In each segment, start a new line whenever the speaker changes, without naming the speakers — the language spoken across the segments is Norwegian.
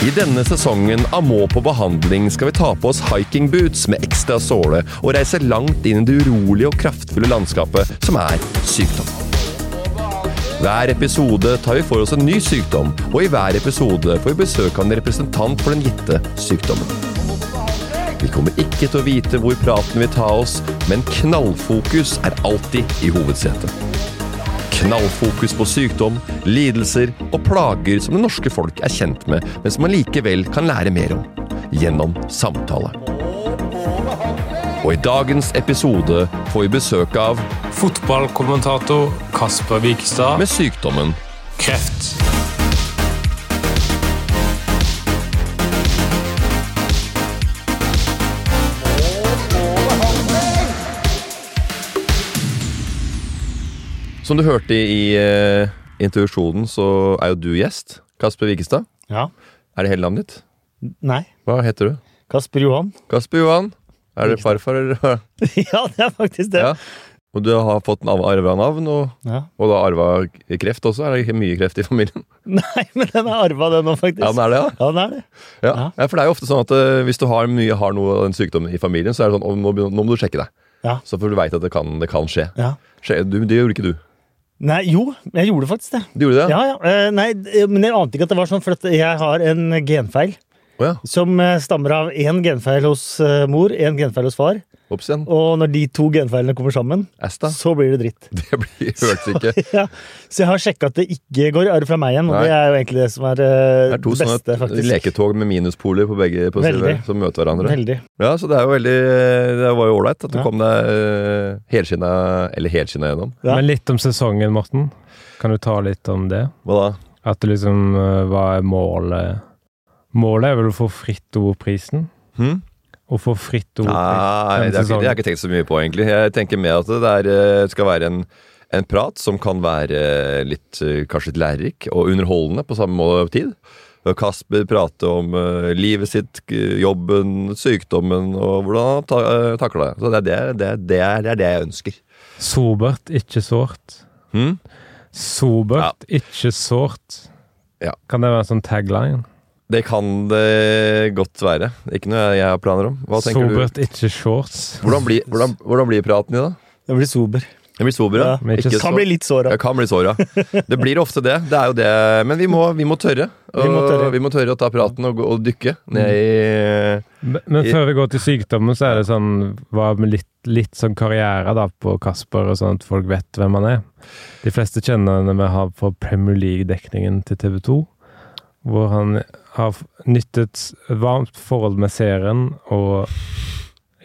I denne sesongen av Må på behandling skal vi ta på oss hikingboots med ekstra såle og reise langt inn i det urolige og kraftfulle landskapet som er sykdom. Hver episode tar vi for oss en ny sykdom, og i hver episode får vi besøk av en representant for den gitte sykdommen. Vi kommer ikke til å vite hvor praten vil ta oss, men knallfokus er alltid i hovedsetet. Knallfokus på sykdom, lidelser og plager som det norske folk er kjent med, men som man likevel kan lære mer om gjennom samtale. Og i dagens episode får vi besøk av
Fotballkommentator Kasper Vikestad.
Med sykdommen
kreft.
Som du hørte i eh, introduksjonen, så er jo du gjest. Kasper Vikestad.
Ja.
Er det hele navnet ditt?
Nei.
Hva heter du?
Kasper Johan.
Kasper Johan. Er det
Vikestad.
farfar, eller?
ja, det er faktisk det.
Ja. Og du har fått en arva navn, og,
Ja.
og da arva kreft også? Er det ikke mye kreft i familien?
Nei, men den er arva, den òg, faktisk.
Ja, den er det, ja.
Ja, den er det.
Ja.
Ja.
ja, for det er jo ofte sånn at eh, hvis du har mye har noe av den sykdommen i familien, så er det sånn, «Å, nå, begynner- nå må du sjekke deg.
Ja.
Så for du veit at det kan, det kan skje.
Ja.
skje du, det gjorde ikke du.
Nei, jo, jeg gjorde faktisk det.
Du gjorde det?
Ja, ja. Eh, Nei, d- men jeg ante ikke at det var sånn, for at jeg har en genfeil
Å ja.
som eh, stammer av én genfeil hos eh, mor, én genfeil hos far.
Ops igjen.
Og når de to genfeilene kommer sammen,
Asta.
så blir det dritt.
Det blir, hørtes ikke.
ja. Så jeg har sjekka at det ikke går i arv fra meg igjen, og
Nei.
det er jo egentlig det som er eh,
Det er to
det beste,
sånne
faktisk.
leketog med minuspoler på begge på siden,
Veldig.
som møter hverandre.
Veldig.
Ja, Så det er jo veldig Det var jo ålreit at du
Ja.
kom deg uh, helskinna Eller helskinna gjennom.
Ja.
Men litt om sesongen, Morten. Kan du ta litt om det?
Hva da?
At det liksom eh, Hva er målet? Målet er vel å få fritt ordprisen?
Hm?
Å få fritt ordprisen.
Nei,
denne
det har ikke- det har jeg ikke tenkt så mye på, egentlig. Jeg tenker mer at det der eh, skal være en, en prat som kan være litt eh, kanskje litt lærerik og underholdende på samme måte tid. Og Kasper prater om eh, livet sitt, k- jobben, sykdommen og hvordan han ta, eh, takler det. Så det er det, det, er- det, er, det er det jeg ønsker.
Sobert, ikke sårt.
Hm?
Sobert, ikke sårt.
Ja.
Kan det være en sånn tagline?
Det kan det godt være. Ikke noe jeg har planer om. Hva tenker du?
Sobert, ikke shorts.
Hvordan blir, hvordan, hvordan blir praten i dag?
Jeg blir sober.
Jeg blir sober, ja.
Ja,
men ikke
Ikke
så-
så-
Kan bli litt såra.
Jeg kan bli såra. Det blir ofte det. Det er jo det. Men vi må, vi må tørre. Og, vi, må tørre. å ta praten og, gå- og dykke ned i
Men men før vi går til sykdommen, så er det sånn hva med litt, litt sånn karriere da på Kasper, og sånn at folk vet hvem han er. De fleste kjenner han vi har fra Premier League-dekningen til TV 2, hvor han har f- nyttet varmt forhold med serien og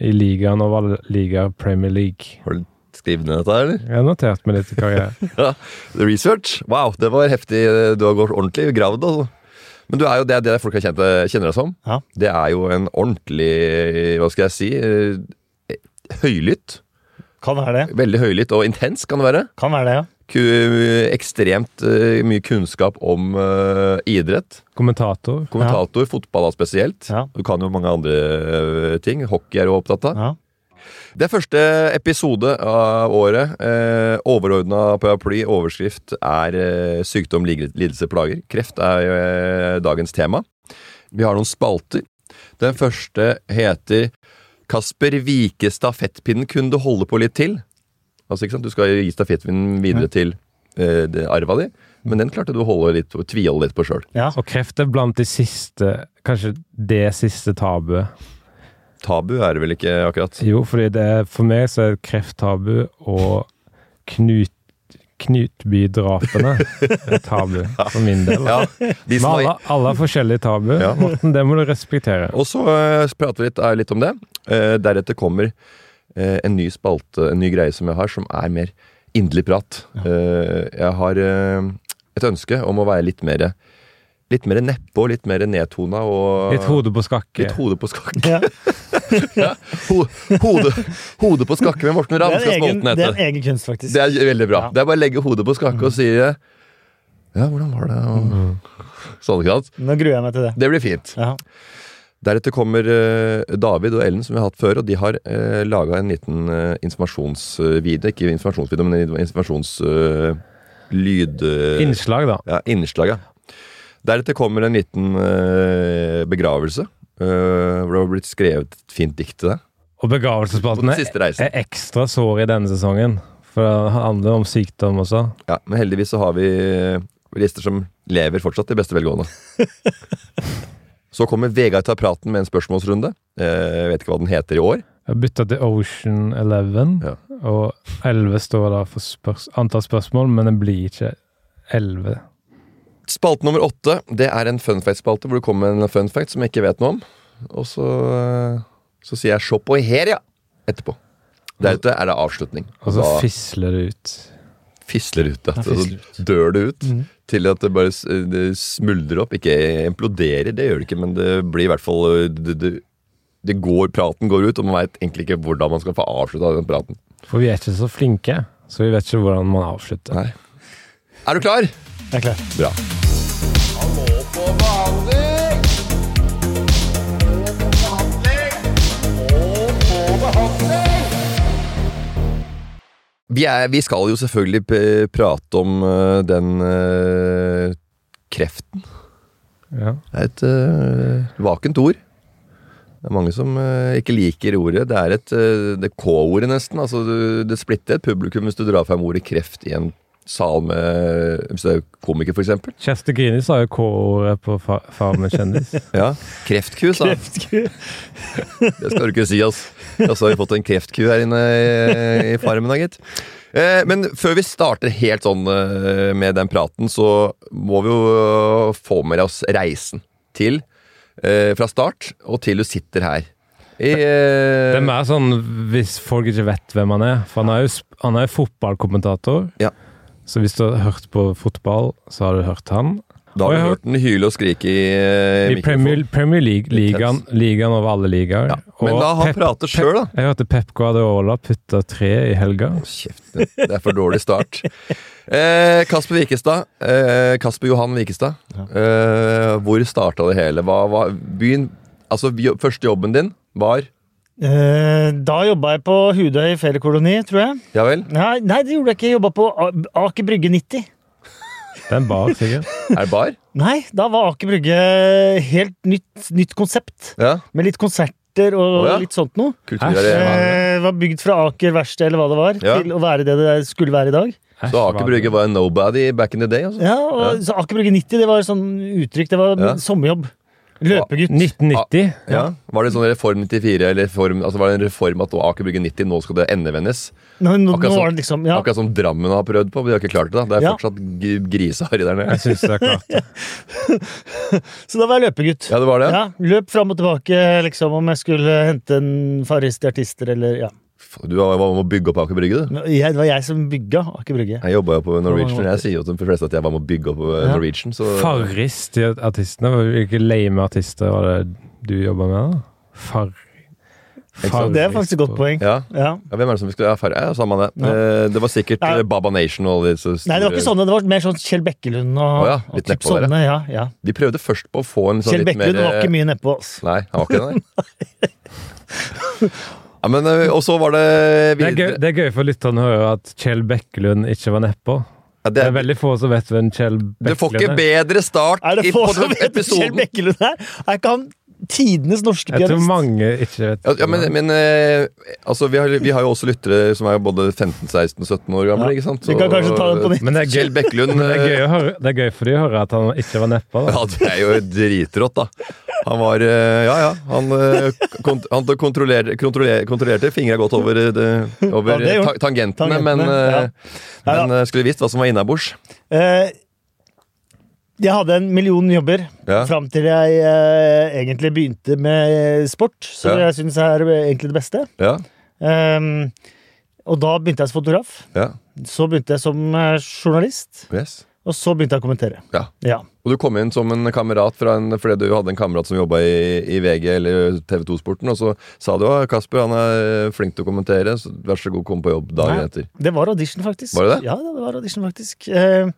i ligaen og valgliga Premier League.
Har du skrevet ned dette, her, eller?
Jeg har notert meg litt karriere.
Research? Wow, det var heftig. Du har gått ordentlig i gravd, altså. Men du er jo det, det folk har kjent, deg- kjenner deg som.
Ja.
Det er jo en ordentlig Hva skal jeg si? eh, Høylytt.
Kan være det.
Veldig høylytt og intens, kan det være.
Kan være det, ja.
Ku- Ekstremt eh, mye kunnskap om eh, idrett.
Kommentator.
Kommentator, fotball da spesielt.
Ja.
Du kan jo mange andre ø, ting. Hockey er du opptatt av.
ja.
Det er første episode av året. Eh, Overordna paraply, overskrift, er eh, sykdom, lig- lidelse, plager. Kreft er eh, dagens tema. Vi har noen spalter. Den første heter Kasper Vike stafettpinnen kunne du holde på litt til. Altså, ikke sant? Du skal gi stafettpinnen videre til eh, det- arva di, men den klarte du å holde litt, tviholde litt på sjøl.
ja.
Og kreft er blant de siste, kanskje det siste tabuet.
Tabu er det vel ikke akkurat?
Jo, fordi det er, for meg så er kreft tabu, og knut, knutbydrapene er tabu, for min del.
Ja, de
Men
som
alle,
har...
alle har forskjellige tabu.
Ja.
Morten, det må du respektere.
Og så eh, prater vi litt, eh, litt om det. Eh, deretter kommer eh, en ny spalte, en ny greie som jeg har, som er mer inderlig prat. Eh, jeg har eh, et ønske om å være litt mer Litt mer nedpå, litt mer nedtona og
Litt hode på skakke.
Litt eh, hode på skakke.
ja.
Ho, hode, hode på skakke med Morten
Det,
Ramm
er
skal
en egen,
spalten
det
hete.
er en egen kunst, faktisk.
Det er veldig bra.
Ja. Mm.
Det er bare å legge hodet på skakke og si eh, Ja, hvordan var det? Og, sånn, ikke sant?
Nå gruer jeg meg til det.
Det blir fint.
Ja.
Deretter kommer eh, David og Ellen, som vi har hatt før, og de har uh, laga en liten eh, informasjonsvideo. Ikke informasjonsvideo, men en informasjonslyd...
Innslag, da.
eh, Ja, innslaget. Deretter kommer en liten eh, begravelse. eh, hvor det har blitt skrevet et fint dikt til deg.
Og
På den
begravelsesplatene
siste reisen.
er ekstra såre i denne sesongen. For det handler om sykdom også.
Ja, men heldigvis så har vi eh, lister som lever fortsatt i beste velgående. så kommer Vegard ta praten med en spørsmålsrunde. Eh, jeg vet ikke hva den heter i år.
Jeg bytta til Ocean Eleven,
Ja.
og 11 står da for spørs antall spørsmål, men det blir ikke 11.
Spalte nummer åtte det er en fun fact-spalte hvor det kommer en fun fact som jeg ikke vet noe om. Og så, eh, så sier jeg 'se på her', ja! etterpå. Deretter er det avslutning.
Og så
da
fisler det ut.
fisler ut. Da.
Ja, Altså, fisler Mhm.
Så dør det ut. Til at det bare s- det smuldrer opp. Ikke imploderer, det gjør det ikke, men det blir i hvert fall eh, det, det, det går, Praten går ut, og man veit egentlig ikke hvordan man skal få avslutta den praten.
For vi er ikke så flinke, så vi vet ikke hvordan man avslutter.
Nei. Er du klar?
Jeg er klar.
Bra. Vi, er, vi skal jo selvfølgelig p- prate om eh, den eh, kreften.
Ja.
Det er et eh, vakent ord. Det er mange som eh, ikke liker ordet. Det er et eh, det er K-ordet, nesten. Altså, du, det splitter et publikum hvis du drar frem ordet kreft i en sal med hvis du er komiker, for eksempel.
Kjersti Grini sa jo K-ordet på fa Farmen kjendis.
Ja, kreftku, sa han.
Kreftkur.
Det skal du ikke si, ass. Og så har vi fått en kreftku her inne i, i farmen, da, gitt. Eh, men før vi starter helt sånn eh, med den praten, så må vi jo eh, få med oss reisen til eh, Fra start og til du sitter her. I, eh,
Det er mer sånn hvis folk ikke vet hvem han er, for han er jo, sp- han er jo fotballkommentator.
Ja.
Så hvis du har hørt på fotball, så har du hørt han.
da har
Oi,
vi
hør.
hørt den hyle og skrike i, eh,
I Premier,
mikrofonen.
Premier League, ligaen, ligaen over alle ligaer.
Ja. Men la han prate sjøl, da.
Jeg hørte Pep Guardiola putta tre i helga.
Kjeft, det er for dårlig start. Eh, Kasper Wikestad. Eh, Kasper Johan Wikestad. Eh, hvor starta det hele? Hva, hva, byen, altså, jo- første jobben din var
Eh, Da jobba jeg på Hudøy feriekoloni, tror jeg.
Ja vel?
Nei, nei, det gjorde jeg ikke. Jeg jobba på A- Aker Brygge 90.
Det er en bar, sikkert.
Er det bar?
Nei, da var Aker Brygge helt nytt, nytt konsept.
Ja.
Med litt konserter og
Å, ja.
litt sånt noe.
Kulturarena.
Æsj.
Eh, var bygd fra Aker verksted eller hva det var,
Ja.
til å være det det skulle være i dag.
Så Aker Brygge var en nobody back in the day? Altså.
Ja, og,
Ja.
Så Aker Brygge 90 det var sånn uttrykk. Det var
Ja.
sommerjobb. Løpegutt.
1990.
Ja. Var det sånn Reform 94, eller reform, altså var det en reform at nå Aker Brygge 90, nå skal det endevendes?
Nå, nå,
Akkurat
nå
som-
var det liksom ja.
Akkurat som Drammen har prøvd på, men de har ikke klart det. da. Det er
Ja.
fortsatt g- griseharry der nede.
Jeg syns det er klart. det.
Så da var jeg løpegutt.
Ja, det var det?
Ja, løp fram og tilbake liksom om jeg skulle hente en farriste artister eller ja.
Faen, Du var var med å bygge opp Aker Brygge, du.
Jeg, det var jeg som bygga Aker Brygge.
Jeg jobba jo på Norwegian.
måter.
Jeg sier jo til de fleste at jeg var med å bygge opp eh,
Ja.
Norwegian. Så
Farris til artistene. Hvilke lame artister var det du jobba med? da? Far...
sant?
Det er faktisk et godt
på-
poeng.
ja.
Ja.
ja, hvem er det som skulle ja, Farris? Ja, samme det.
Ja.
Eh, Det var sikkert
Nei.
eh, Baba Nation og alle disse store-
Nei, det var ikke sånne. Det var mer sånn Kjell Bekkelund og,
Å ja,
og
litt
typ
nedpå dere.
sånne. Ja, ja.
De prøvde først på å få en sånn
Kjell
litt
Bekkelund
mer
var ikke mye nedpå. Altså.
Nei, han var ikke det. nei. Ja, men, eh, og så var det
Det er, gøy,
videre
det er gøy for lytterne å høre at Kjell Bekkelund ikke var nedpå.
Ja,
Det
det
er
er-
veldig få som vet hvem Kjell
Du får ikke
Bekkelund er.
bedre start
Er
i-
det
på
få som
den
vet hvem Kjell
episoden!
Bekkelund er? Er ikke han tidenes norske
Jeg tror
pianist?
mange ikke vet.
Ja, ja, men, men eh, altså, vi, har, vi har jo også lyttere som er både 15, 16 og 17 år gamle.
Ja.
ikke sant?
Vi kan kanskje ta den på nytt.
Men det er gøy-
Kjell Bekkelund
det, er gøy å høre, det er gøy for de å høre at han ikke var nedpå. da.
Ja, det er jo dritrått, da. Han var eh, Ja, ja. Han, eh, kont han kontrollerte, kontrollerte, kontrollerte fingra godt over, eh, det- over
Ja, det gjorde
ta tangentene,
Tangentene,
men, eh,
ja.
men eh, skulle visst hva som var innabords.
Eh, jeg hadde en million jobber
Ja.
fram til jeg eh, egentlig begynte med sport, som
Ja.
jeg syns er eh, egentlig det beste.
Ja,
Ehm, og da begynte jeg som fotograf.
ja,
Så begynte jeg som eh, journalist,
yes.
og så begynte jeg å kommentere.
Ja.
Ja.
Og du kom inn som en kamerat fra en, fordi du hadde en kamerat som jobba i, i VG eller TV 2-sporten, og så sa du at Kasper han er eh, flink til å kommentere, så vær så god, kom på jobb dagen
Nei.
etter.
Det var audition, faktisk.
Var det det?
Ja, det var audition, faktisk. Eh,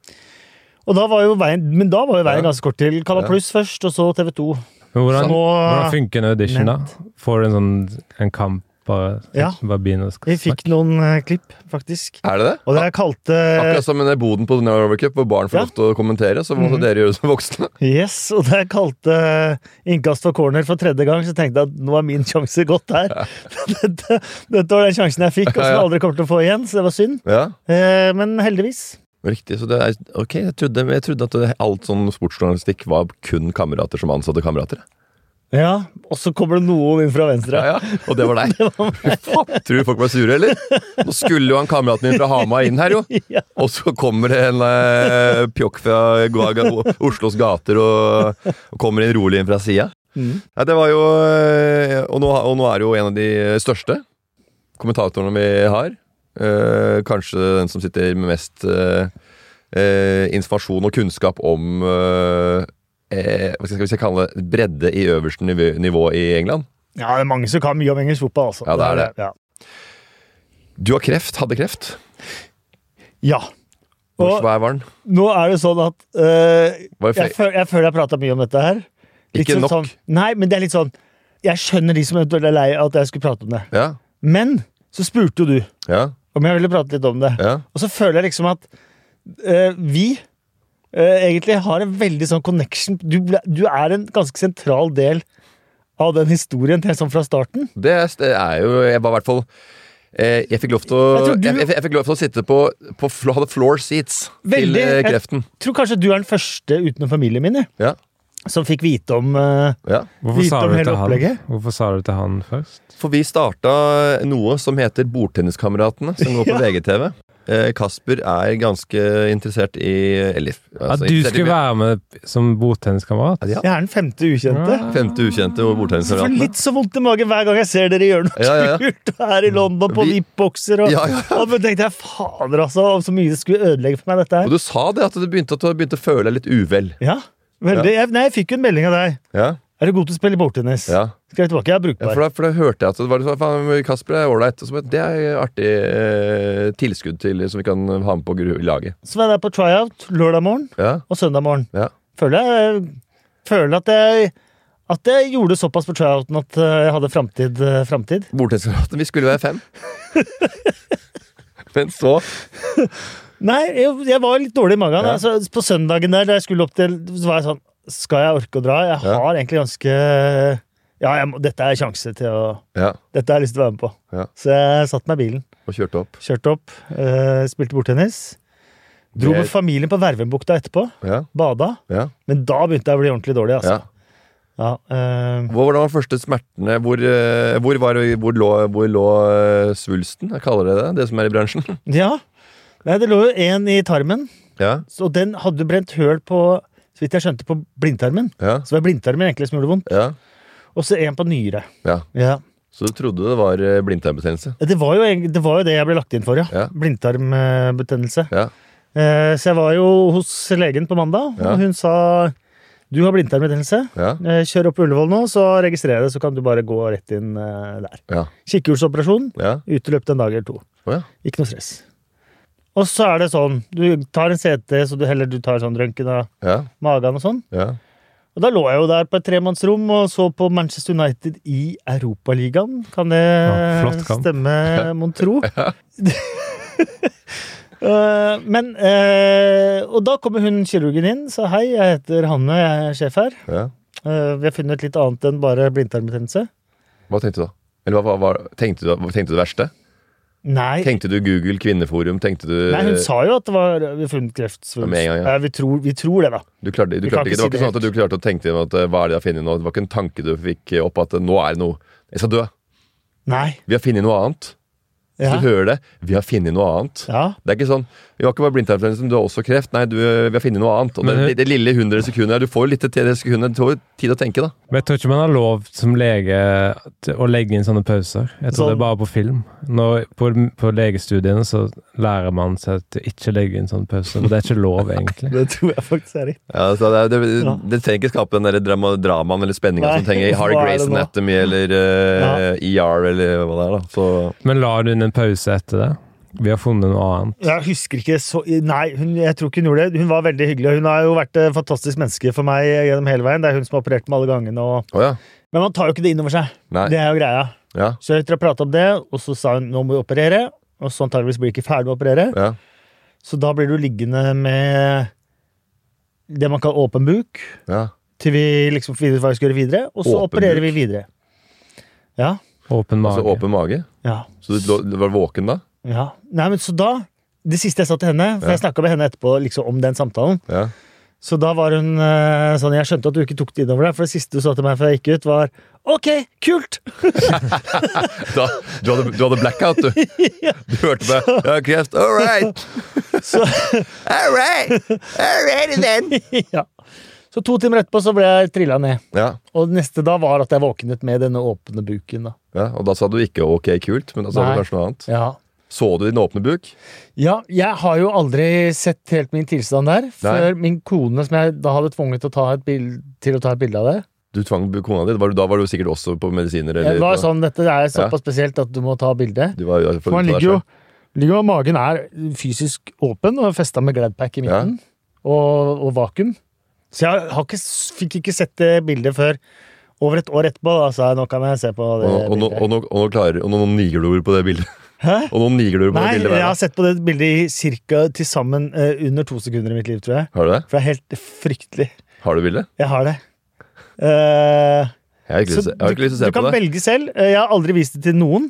og da var jo veien, men da var jo veien
Ja.
ganske kort til Canal
Ja.
Pluss først, og så TV 2.
Men hvordan,
Så nå-
hvordan funker en audition, da? Får du en sånn en kamp? Bare,
Ja.
bare begynne å sk-
Vi fikk noen eh, klipp, faktisk.
Er det det?
Og det jeg kalte
Akkurat som i boden på Norway Cup, hvor barn får
Ja. Mhm.
lov til å kommentere, så må også dere gjøre det som voksne.
Yes, og da jeg kalte innkast for corner for tredje gang, så tenkte jeg at nå er min sjanse gått her. Dette, dette var den sjansen jeg fikk, og som jeg aldri kommer til å få igjen, så det var synd.
Ja,
Eh, Men heldigvis.
riktig. Så det er, ok, jeg trodde, men jeg trodde at det, alt sånn sportsjournalistikk var kun kamerater som ansatte kamerater.
Ja, og så kommer det noen inn fra venstre.
Ja, ja. Og det var deg. Faen, Tror du folk ble sure, eller? Nå skulle jo han kameraten min fra Hamar inn her, jo.
Ja.
Og så kommer det en eh, pjokk fra ga- ga- Oslos gater og, og kommer inn rolig inn fra sida.
Mm.
Nei, det var jo eh, og nå, og nå er det jo en av de eh, største kommentatorene vi har. Eh, kanskje den som sitter med mest eh, eh, informasjon og kunnskap om eh, eh, Hva skal vi si- kalle det? Bredde i øverste nivå, nivå i England.
Ja, det er mange som kan mye om engelsk fotball, altså.
Ja, det er det.
Ja.
Du har kreft. Hadde kreft.
ja.
Hvor
Og-
svær var den?
Nå er det sånn at eh,
Var det
jeg,
flere?
føl, jeg føler jeg har prata mye om dette her. Litt
Ikke
sånn-
nok.
Sånn, nei, men det er litt sånn Jeg skjønner de som eventuelt er lei av at jeg skulle prate om det.
Ja,
Men så spurte jo du
ja,
om jeg ville prate litt om det.
ja.
Og så føler jeg liksom at eh, vi eh, egentlig har en veldig sånn connection du, ble, du er en ganske sentral del av den historien helt sånn fra starten.
Det er, det er jo Jeg var i hvert fall eh, Jeg fikk lov til å
Jeg
Jeg,
tror du-
jeg, jeg fikk lov til å sitte på, på flo- hadde floor seats til
Veldig,
eh,
jeg-
kreften.
Tror kanskje du er den første utenom familien min jeg,
Ja,
som fikk vite om eh,
ja.
Hvorfor sa,
Vite om
du
hele
til han?
opplegget?
Hvorfor sa du til han først?
For vi starta noe som heter Bordtenniskameratene, som går på VGTV. Eh, Kasper er ganske interessert i Eller
At
altså,
du
interessert i-
skulle være med som bordtenniskamerat?
Ja,
Jeg er den femte ukjente.
Ja.
Femte ukjente og
Jeg får
bordtenniskameratene.
litt så vondt i magen hver gang jeg ser dere gjøre noe
Ja, ja, ja.
kult her i London på
Vi-
VIP-bokser. Og,
Ja, ja.
og da tenkte jeg fader, altså, så mye det skulle ødelegge for meg, dette
Og
her.
du sa det, at du begynte, at du begynte å føle deg litt uvel.
Ja, veldig. Jeg, nei, jeg fikk jo en melding av deg.
Ja,
Er du god til å spille bordtennis?
ja.
Skrev tilbake. Jeg er
Ja,
brukbar.
for, da, for da hørte jeg at det var litt sånn, faen, Kasper er ålreit. og så bare, Det er artig eh, tilskudd til som vi kan ha med på gru- laget.
Så var jeg der på tryout lørdag morgen
Ja,
og søndag morgen.
ja.
Føler jeg føler at jeg at jeg gjorde såpass på tryouten at eh, jeg hadde framtid. eh, framtid.
Bordtenniskameratene. Vi skulle være fem. Men så
Nei, jeg, jeg var litt dårlig i magen.
Ja.
Altså, på søndagen der, da jeg skulle opp til, så var jeg sånn Skal jeg orke å dra? Jeg
Ja.
har egentlig ganske Ja, jeg, må- dette er sjanse til å
Ja,
Dette har jeg lyst til å være med på.
Ja.
Så jeg satte meg i bilen,
og kjørte opp.
kjørte opp, eh, spilte bordtennis. Dro
Det-
med familien på Vervenbukta etterpå.
Ja,
Bada.
ja,
Men da begynte jeg å bli ordentlig
ja.
dårlig, altså. Ja, eh,
Hvor var de første smertene? Hvor, eh, hvor, var, hvor, lå, hvor lå eh, svulsten? Jeg kaller det det, det som er i bransjen.
ja. Nei, det lå jo en i tarmen,
Ja,
så den hadde brent høl på så vidt jeg skjønte, på blindtarmen.
ja,
Så det var blindtarmen egentlig som gjorde vondt.
ja.
Og så en på nyre.
ja.
Ja.
Så du trodde det var eh, blindtarmbetennelse?
Det var, jo, eng- det var jo det jeg ble lagt inn for, ja.
Ja.
Blindtarmbetennelse.
Ja.
Eh, Så jeg var jo hos legen på mandag,
Ja.
og hun sa du har blindtarmbetennelse.
Ja,
Eh, Kjør opp på Ullevål nå, så registrerer jeg det, så kan du bare gå rett inn eh, der.
ja,
Kikkhullsoperasjon.
ja.
Uteløp en dag eller to.
Å ja.
Ikke noe stress. Og så er det sånn, du tar en CT, så du heller du tar sånn røntgen av
Ja,
magen og sånn.
ja.
Og da lå jeg jo der på et tremannsrom og så på Manchester United i Europaligaen. Kan det
Ja, flott kamp.
stemme, mon tro? Eh, Men eh, Og da kommer hun kirurgen inn, sa hei, jeg heter Hanne, jeg er sjef her.
ja.
Eh, Vi har funnet litt annet enn bare blindtarmbetennelse.
Hva tenkte du da? Eller hva, hva, hva, tenkte, du, hva tenkte du det verste?
Nei,
Tenkte du Google kvinneforum? Tenkte du
Nei, hun sa jo at det var vi har funnet kreftsvulst.
Ja, med en gang, ja.
Eh, vi, tror, vi tror det, da.
Du klarte, du
Vi kan
klarte
ikke
ikke, det var
si
ikke sånn
det
at du klarte å tenke deg at eh, hva er det jeg har funnet nå? Det var ikke en tanke du fikk eh, opp at eh, nå er det noe. Jeg skal dø.
Nei.
Vi har funnet noe annet. Hvis
Ja.
Du hører det. Vi har funnet noe annet.
ja.
Det er ikke sånn Vi har ikke bare blindtarmbetennelse, men du har også kreft. Nei, du, eh, vi har funnet noe annet. Og det,
Men-
det, det lille 100 sekundet her, Du får jo litt til 30 sekunder. Du får jo tid å tenke, da.
Men jeg tror ikke man har lov som lege til å legge inn sånne pauser. Jeg tror
Sånn.
det er bare på film. Når, på, på legestudiene så lærer man seg til ikke å legge inn sånne pauser. Og det er ikke lov, egentlig.
Det tror jeg faktisk er riktig.
Ja, så det, det, det,
Ja.
det trenger ikke skape den der drama, dramaen eller spenninga
Nei,
som trenger i
hva
Harry
er det
Grace
nå?
Anatomy E eller eh, ER eller hva det er, da. Så
Men la du inn en pause etter det? Vi har funnet noe annet.
Jeg husker ikke så Nei, hun, jeg tror ikke hun gjorde det. Hun var veldig hyggelig. og Hun har jo vært et fantastisk menneske for meg gjennom hele veien. Det er hun som har operert meg alle gangene. Og...
Å ja.
Men man tar jo ikke det inn over seg.
Nei.
Det er jo greia.
Ja.
Så etter å ha pratet om det, og så sa hun nå må du operere. Og så antageligvis blir du ikke ferdig å operere.
ja.
Så da blir du liggende med det man kaller åpen buk,
ja.
til vi liksom finner ut hva vi skal gjøre videre. Og så
Åpen
opererer
buk?
vi videre. Ja.
Åpen mage.
Altså åpen mage.
Ja.
Så du lå- du var våken da?
ja. Nei, men så da Det siste jeg sa til henne, for
Ja.
jeg snakka med henne etterpå liksom, om den samtalen.
Ja.
Så da var hun eh, sånn Jeg skjønte at du ikke tok det innover deg, for det siste du sa til meg før jeg gikk ut, var OK, kult!
Da, du, hadde, du hadde blackout, du. Du hørte meg. Ja, kreft. All right!
Så,
All right! All righty then!
ja. så to timer etterpå så ble jeg trilla ned.
Ja,
Og det neste da var at jeg våknet med denne åpne buken. da.
ja, og da sa du ikke 'ok, kult', men da sa du
Nei.
kanskje noe annet.
Ja.
Så du din åpne buk?
ja, jeg har jo aldri sett helt min tilstand der. Før min kone, som jeg da hadde tvunget til å ta et bild, til å ta et bilde av det.
Du tvang bu- kona di? Var du, da var du sikkert også på medisiner? Eller,
Det var
på-
sånn, Dette er
Ja.
såpass spesielt at du må ta bilde.
Du var, jo-
For han ligger jo, ligger jo Magen er fysisk åpen og festa med Gladpack i midten. Og, og vakuum. Så jeg har ikke, s- fikk ikke sett det bildet før over et år etterpå. Da sa jeg nå kan jeg se på det
Og, og, nå-
bildet.
og, nå- og, nå klarer- og noen nigerdoer på det bildet.
Hæ?
Og noen nigerdoer på
Nei,
det bildet.
jeg
hver, da.
har sett på det bildet i cirka til sammen eh, under to sekunder i mitt liv, tror jeg.
Har du det?
For det er helt fryktelig.
Har du bildet?
Jeg har det. Eh,
Jeg har ikke
så
lyst jeg har ikke lyst til å se
du kan
på det.
velge selv. Eh, Jeg har aldri vist det til noen.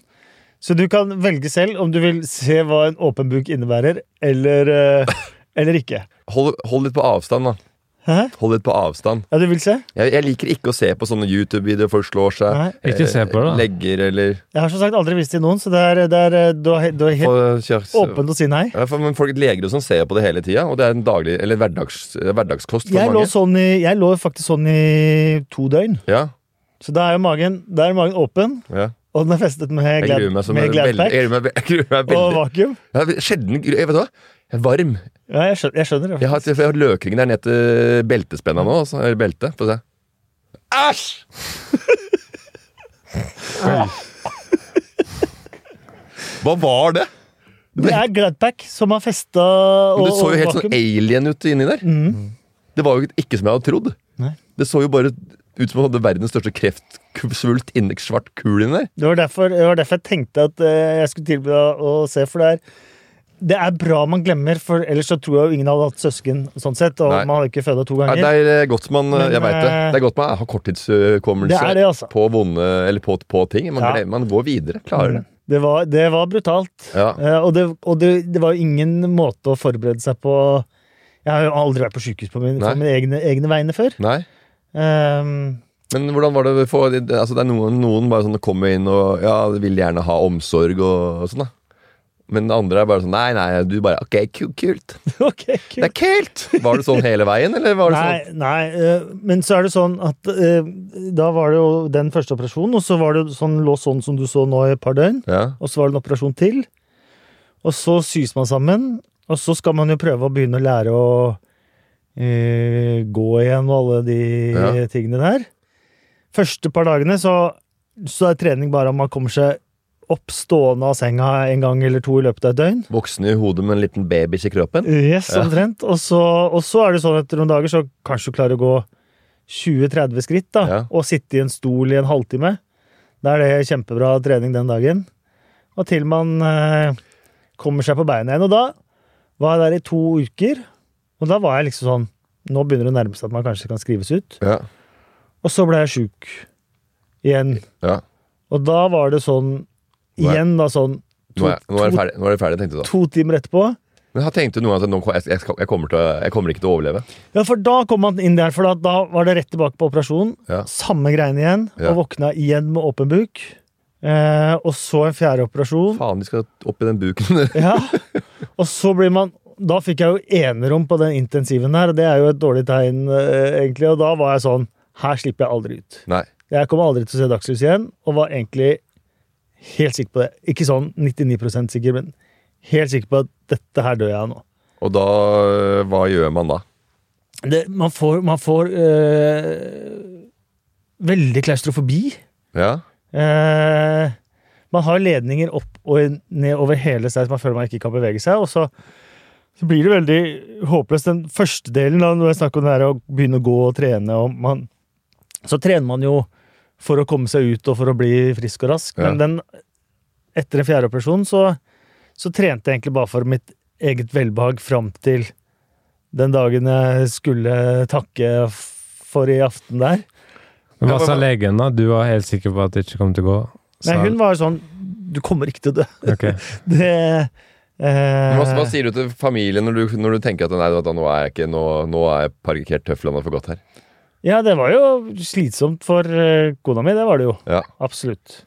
Så du kan velge selv om du vil se hva en åpen buk innebærer, eller, eh, eller ikke.
Hold, hold litt på avstand, da.
Hæ?
Hold litt på avstand.
Ja, du vil se?
Jeg, jeg liker ikke å se på sånne YouTube-videoer folk slår seg.
Nei.
eh,
Ikke se på det, da.
Legger eller
Jeg har som sagt aldri vist det til noen, så det er, det er, eh, du er, he- du er helt
Få kjørs-
åpen å si nei.
Ja, for, men folk Leger og sånn ser på det hele tida, og det er en daglig, eller hverdags, hverdagskost for
Jeg lå,
mange.
sånn i, jeg lå faktisk sånn i to døgn.
Ja,
Så da er jo magen, da er magen åpen,
ja.
og den er festet med,
Jeg
glad,
gruer meg som
med
veldig-
Gladpack
jeg gruer meg- jeg gruer meg
og
veldig.
vakuum.
Jeg er Sjelden gru- jeg Vet du hva? Jeg er varm.
Ja, jeg skjønner. Jeg skjønner det.
Jeg har, jeg har løkringen der ned til beltespenna nå. Altså. Eller belte. Få se. Æsj! Hva var det?
det er Gladpack som har festa
Men
og,
det så jo
og
helt sånn Mm.
vakuum. Mm.
alien ut inni der. Det var jo ikke som jeg hadde trodd.
Nei.
Det så jo bare ut som han hadde verdens største kreftsvult inni en svart kul inni der.
Det var, derfor, det var derfor jeg tenkte at eh, jeg skulle tilby deg å se, for det er det er bra man glemmer, for ellers så tror jeg jo ingen hadde hatt søsken. sånn sett, Og
Nei.
man hadde ikke født to
Nei,
ganger.
det er eh, godt man
Men,
Jeg vet det.
eh,
Det er godt man har korttidshukommelse
det er det, altså.
på vonde Eller på, på ting. Man,
Ja. Mm.
glemmer, man går videre. Klarer det.
Det var, det var brutalt.
Ja.
Eh, og det, og det, det var jo ingen måte å forberede seg på Jeg har jo aldri vært på sykehus på min-
Nei.
på mine egne, egne vegne før.
Nei.
Ehm,
Men hvordan var det for altså Det er noen, noen bare sånn kommer inn og ja, vil gjerne ha omsorg og, og sånn, da. Men andre er bare sånn Nei, nei, du bare OK, ku- kult.
ok, kult.
Det er kult! Var det sånn hele veien, eller var det sånn?
Nei, nei eh, men så er det sånn at eh, da var det jo den første operasjonen, og så var det jo sånn, lå sånn som du så nå i et par døgn,
sånn Ja.
og så var det en operasjon til, og så sys man sammen, og så skal man jo prøve å begynne å lære å eh, gå igjen og alle de
Ja.
tingene der. Første par dagene så, så er trening bare om man kommer seg opp stående av senga en gang eller to i løpet av et døgn.
Voksen i hodet med en liten babys i kroppen.
Yes,
Ja.
omtrent. Og, så, og så er det sånn etter noen dager så kanskje du klarer å gå 20-30 skritt da,
Ja.
og sitte i en stol i en halvtime. Da er det kjempebra trening den dagen. Og til man eh, kommer seg på beina igjen. Og da var jeg der i to uker, og da var jeg liksom sånn Nå begynner det å nærme seg at man kanskje kan skrives ut.
Ja.
Og så ble jeg sjuk igjen.
ja.
Og da var det sånn
Nå er-
igjen, da sånn
Nå,
to,
er, nå, er det
to,
ferdig, nå er det ferdig, tenkte du da.
to timer etterpå.
Men jeg tenkte noen ganger at nå, jeg, jeg, skal- jeg, kommer til, å- jeg kommer ikke til å overleve.
Ja, for da kom man inn der, for da, da var det rett tilbake på operasjon.
Ja.
Samme greiene igjen,
Ja.
og våkna igjen med åpen buk. Eh, og så en fjerde operasjon.
Faen, de skal opp i den buken.
Ja. Og så blir man Da fikk jeg jo enerom på den intensiven her, og det er jo et dårlig tegn, eh, egentlig. Og da var jeg sånn Her slipper jeg aldri ut.
Nei.
Jeg kommer aldri til å se dagslys igjen, og var egentlig helt sikker på det. Ikke sånn 99 sikker, men helt sikker på at dette her dør jeg av nå.
Og da øh, Hva gjør man da?
det, man får, man får øh, veldig klaustrofobi.
Ja.
Eh, man har ledninger opp og ned over hele stedet, så man føler man ikke kan bevege seg. Og så, så blir det veldig håpløst. Den første delen, da, når jeg snakker om det her å begynne å gå og trene og man, Så trener man jo for å komme seg ut og for å bli frisk og rask,
Ja.
men den, etter en fjerde operasjon så, så trente jeg egentlig bare for mitt eget velbehag fram til den dagen jeg skulle takke f- for i aften der.
Men
Ja,
hva
men-
sa legen, da? Du var helt sikker på at det ikke kom til å gå?
Nei,
Sa-
hun var jo sånn Du kommer ikke til å dø.
Ok.
Det
Men Hva,
eh,
hva sier du til familien når du, når du tenker at nei, vet du hva, nå er jeg ikke Nå, nå er jeg parkert tøflene for godt her?
Ja, det var jo slitsomt for eh, kona mi, det var det jo.
Ja.
Absolutt.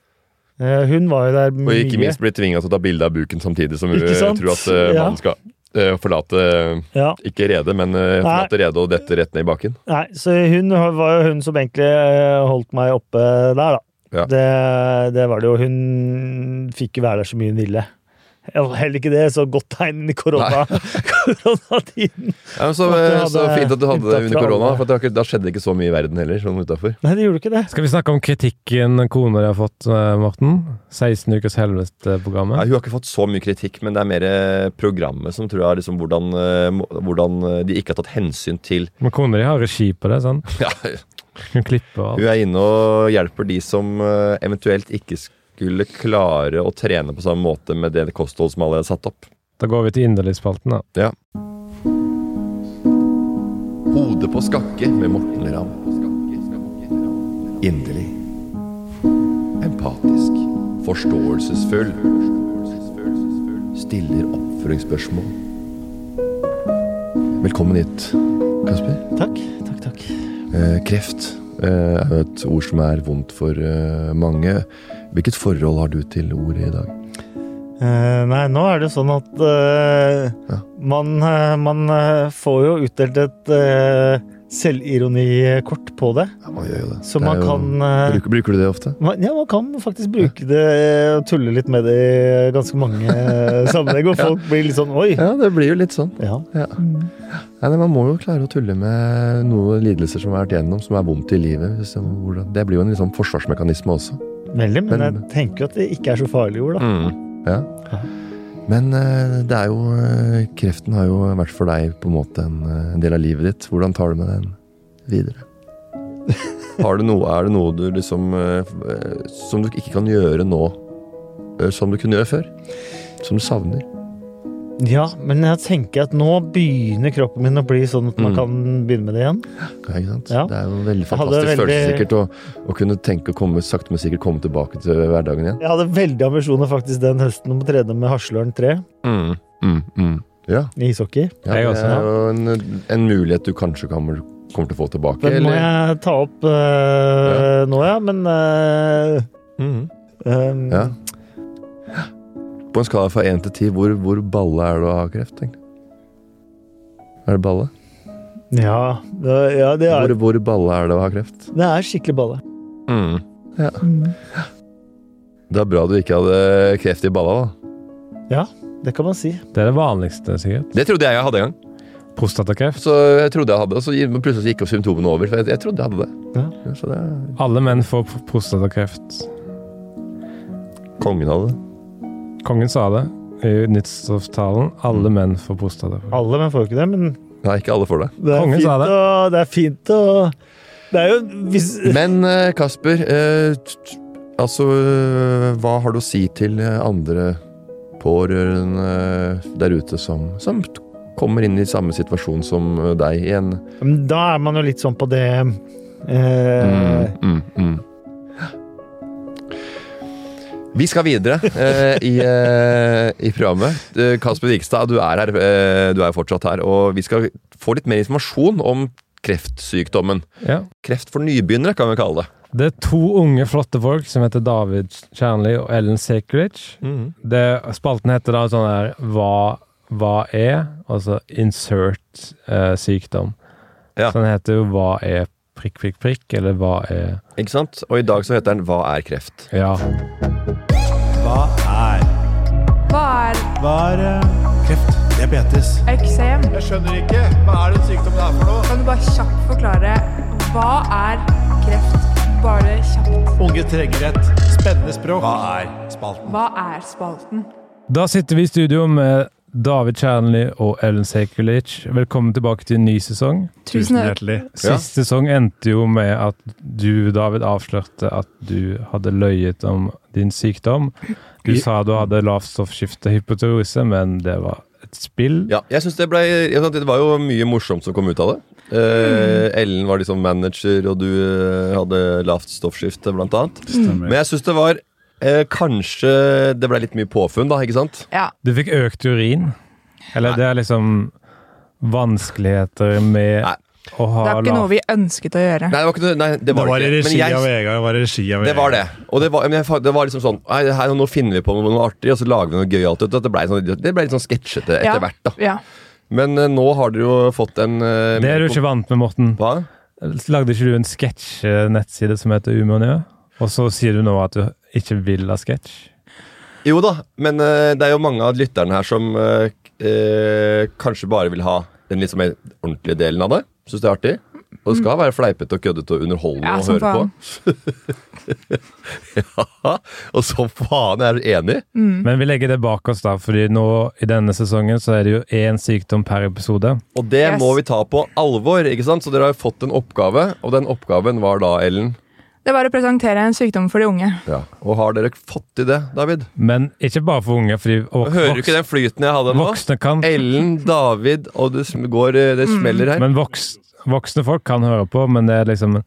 Eh, hun var jo der
Og
mye.
ikke minst blir tvinga til å ta bilde av buken samtidig som hun
Ikke sant?
tror at eh,
Ja.
mannen skal eh, forlate eh,
Ja.
Ikke redet, men eh, forlate redet og dette rett ned i baken.
Nei, så hun var jo hun som egentlig eh, holdt meg oppe der, da.
Ja.
Det, det var det jo. Hun fikk jo være der så mye hun ville. Ja, Heller ikke det, så godt tegn i korona, koronatiden.
Ja, men så,
Og at du
eh, så
hadde
fint at du hadde det
unntak
under
fra
korona,
alle.
for at det var ikke, da skjedde det ikke så mye i verden heller. sånn utenfor.
Nei, det gjorde ikke det.
Skal vi snakke om kritikken kona di har fått, eh, Morten? 16 ukers helvete-programmet.
Nei, hun har ikke fått så mye kritikk, men det er mer eh, programmet som tror jeg er liksom hvordan, eh, må- hvordan eh, de ikke har tatt hensyn til
Men kona di har regi på det, sant?
ja,
Hun klipper og
Hun er inne og hjelper de som eh, eventuelt ikke skulle klare å trene på samme måte med det kosthold som alle har satt opp.
Da går vi til inderligspalten, da.
Ja. Hodet på skakke med Morten Ramm. Inderlig. Empatisk. Forståelsesfull. Stiller oppføringsspørsmål. Velkommen hit, Kasper.
Takk. Takk, takk.
Eh, kreft eh, er jo et ord som er vondt for eh, mange. Hvilket forhold har du til ordet i dag?
Eh, nei, nå er det jo sånn at eh,
Ja.
man, eh, man eh, får jo utdelt et eh, selvironikort på det.
Ja, man gjør jo det.
Så
Det er
man
jo-
kan eh,
bruker, bruker du det ofte?
man, Ja, man kan faktisk bruke det eh, og tulle litt med det i ganske mange eh, sammenheng, og folk blir litt sånn oi.
Ja, det blir jo litt sånn.
Ja.
Ja. Nei, men Man må jo klare å tulle med noen lidelser som har vært gjennom, som er vondt i livet. hvis det- hvordan- Det blir jo en liksom forsvarsmekanisme også.
Veldig, men jeg
Men-
tenker jo at det ikke er så farlige ord, da.
Ja. Men eh, det er jo eh, Kreften har jo vært for deg på en måte en, eh, en del av livet ditt. Hvordan tar du med den videre? Har du noe, er det noe du liksom eh, eh, Som du ikke kan gjøre nå, eh, som du kunne gjøre før? Som du savner? Mm.
Ja, men jeg tenker at nå begynner kroppen min å bli sånn at man
Mm.
kan begynne med det igjen.
Ja, ikke sant?
Ja.
Det er jo en veldig
Jeg hadde
fantastisk
veldig-
følelse sikkert å, å kunne tenke å komme sakte, men sikkert komme tilbake til hverdagen igjen.
Jeg hadde veldig ambisjoner faktisk den høsten om å trene med Haslørn 3
Mm, mm, mm. Ja,
i ishockey.
ja
Jeg
det
også,
er
ja.
jo en, en mulighet du kanskje kommer, kommer til å få tilbake.
Den må
eller?
jeg ta opp eh, nå, ja. Men eh,
Mhm.
ehm,
Ja.
Mm.
På en skala fra 1 til 10, hvor, hvor balle er det å ha kreft? Egentlig? Er det balle?
ja, det- ja, det,
Hvor, hvor
er,
balle er det å ha kreft?
det er skikkelig balle.
Mm. Ja.
Mm.
Det er bra du ikke hadde kreft i balla, da.
Det kan man si.
Det er det vanligste, sikkert.
Det trodde jeg jeg hadde en gang.
Prostatakreft.
Så jeg trodde jeg hadde, og så plutselig så gikk jo symptomene over. For jeg, jeg trodde jeg hadde det.
Ja.
Ja, så det er
Alle menn får pr- prostatakreft.
kongen hadde det.
Kongen sa det i nyttårstalen.
Mm.
Alle menn får prostatakreft.
Alle menn får jo ikke det, men
Nei, ikke alle får det.
det er
Kongen
fint
sa det.
å Det er fint å Det er jo hvis
Men eh, Kasper, eh, t- t- altså eh, Hva har du å si til eh, andre pårørende eh, der ute som, som t- kommer inn i samme situasjon som eh, deg i en
Men Da er man jo litt sånn på det eh,
Mm, mm, mm. Vi skal videre eh, i, eh, i programmet. Eh, Kasper Vikstad, du er her, eh, du er fortsatt her. Og vi skal få litt mer informasjon om kreftsykdommen.
Ja.
Kreft for nybegynnere, kan vi kalle det.
Det er to unge, flotte folk som heter David Kjernli og Ellen Sekelic.
Mm.
Det, spalten heter da sånn her Hva, hva er? Altså insert eh, sykdom.
Ja.
Så den heter jo Hva er prikk, prikk, prikk? Eller hva er
Ikke sant? Og i dag så heter den Hva er kreft?
Ja.
Hva er
Hva er
Hva er eh, kreft? Diabetes.
eksem?
Jeg skjønner ikke. Hva er den sykdommen her for noe?
Kan du bare kjapt forklare hva er kreft? Bare kjapt.
Unge trenger et spennende språk. Hva er spalten?
Hva er spalten?
Da sitter vi i studio med David Kjernli og Ellen Sekulic. Velkommen tilbake til en ny sesong.
Tusen takk.
hjertelig.
Ja.
Sist sesong endte jo med at du, David, avslørte at du hadde løyet om din sykdom. Du
I-
sa du hadde lavt stoffskifte hypotyreose, men det var et spill.
Ja, jeg synes det, ble, jeg synes det var jo mye morsomt som kom ut av det. Eh, Ellen var liksom manager, og du eh, hadde lavt stoffskifte, blant annet. Men jeg syns det var eh, Kanskje det ble litt mye påfunn, da, ikke sant?
Ja.
Du fikk økt urin. Eller det er liksom vanskeligheter med
Nei.
å ha
Det er ikke noe vi ønsket å gjøre.
Nei, det var ikke noe Nei, det
Det
var,
var i
det ikke. Men
regi
jeg-
E
av Vegard. Det var i regi av
Det var det. Og det var, men jeg, fa- det var liksom sånn nei, det her, Nå finner vi på noe artig, og så lager vi noe gøyalt. ut, at Det ble, sånn, det ble litt sånn sketsjete etter
Ja.
hvert. da
Ja.
Men eh, nå har dere jo fått en eh,
Det er du ikke vant med, Morten.
Hva?
Lagde ikke du en sketsj-nettside som heter Umonø? Og så sier du nå at du ikke vil ha sketsj?
Jo da, men eh, det er jo mange av lytterne her som eh, k- eh, kanskje bare vil ha den litt mer ordentlige delen av det. Syns det er artig. Og det skal være fleipete og køddete og underholdende
Ja,
å
som
høre på. ja, og som faen, jeg er enig.
Men vi legger det bak oss, da, fordi nå i denne sesongen så er det jo én sykdom per episode.
Og det
Yes.
må vi ta på alvor, ikke sant? Så dere har jo fått en oppgave, og den oppgaven var da, Ellen
Det var å presentere en sykdom for de unge.
Ja, Og har dere fått til det, David?
Men ikke bare for unge, fordi vok
Hører du ikke
voks
den flyten jeg hadde nå?
voksne kan
Ellen, David, og det, sm- går, eh, det
Mm.
smeller her.
Men voks voksne folk kan høre på, men det er liksom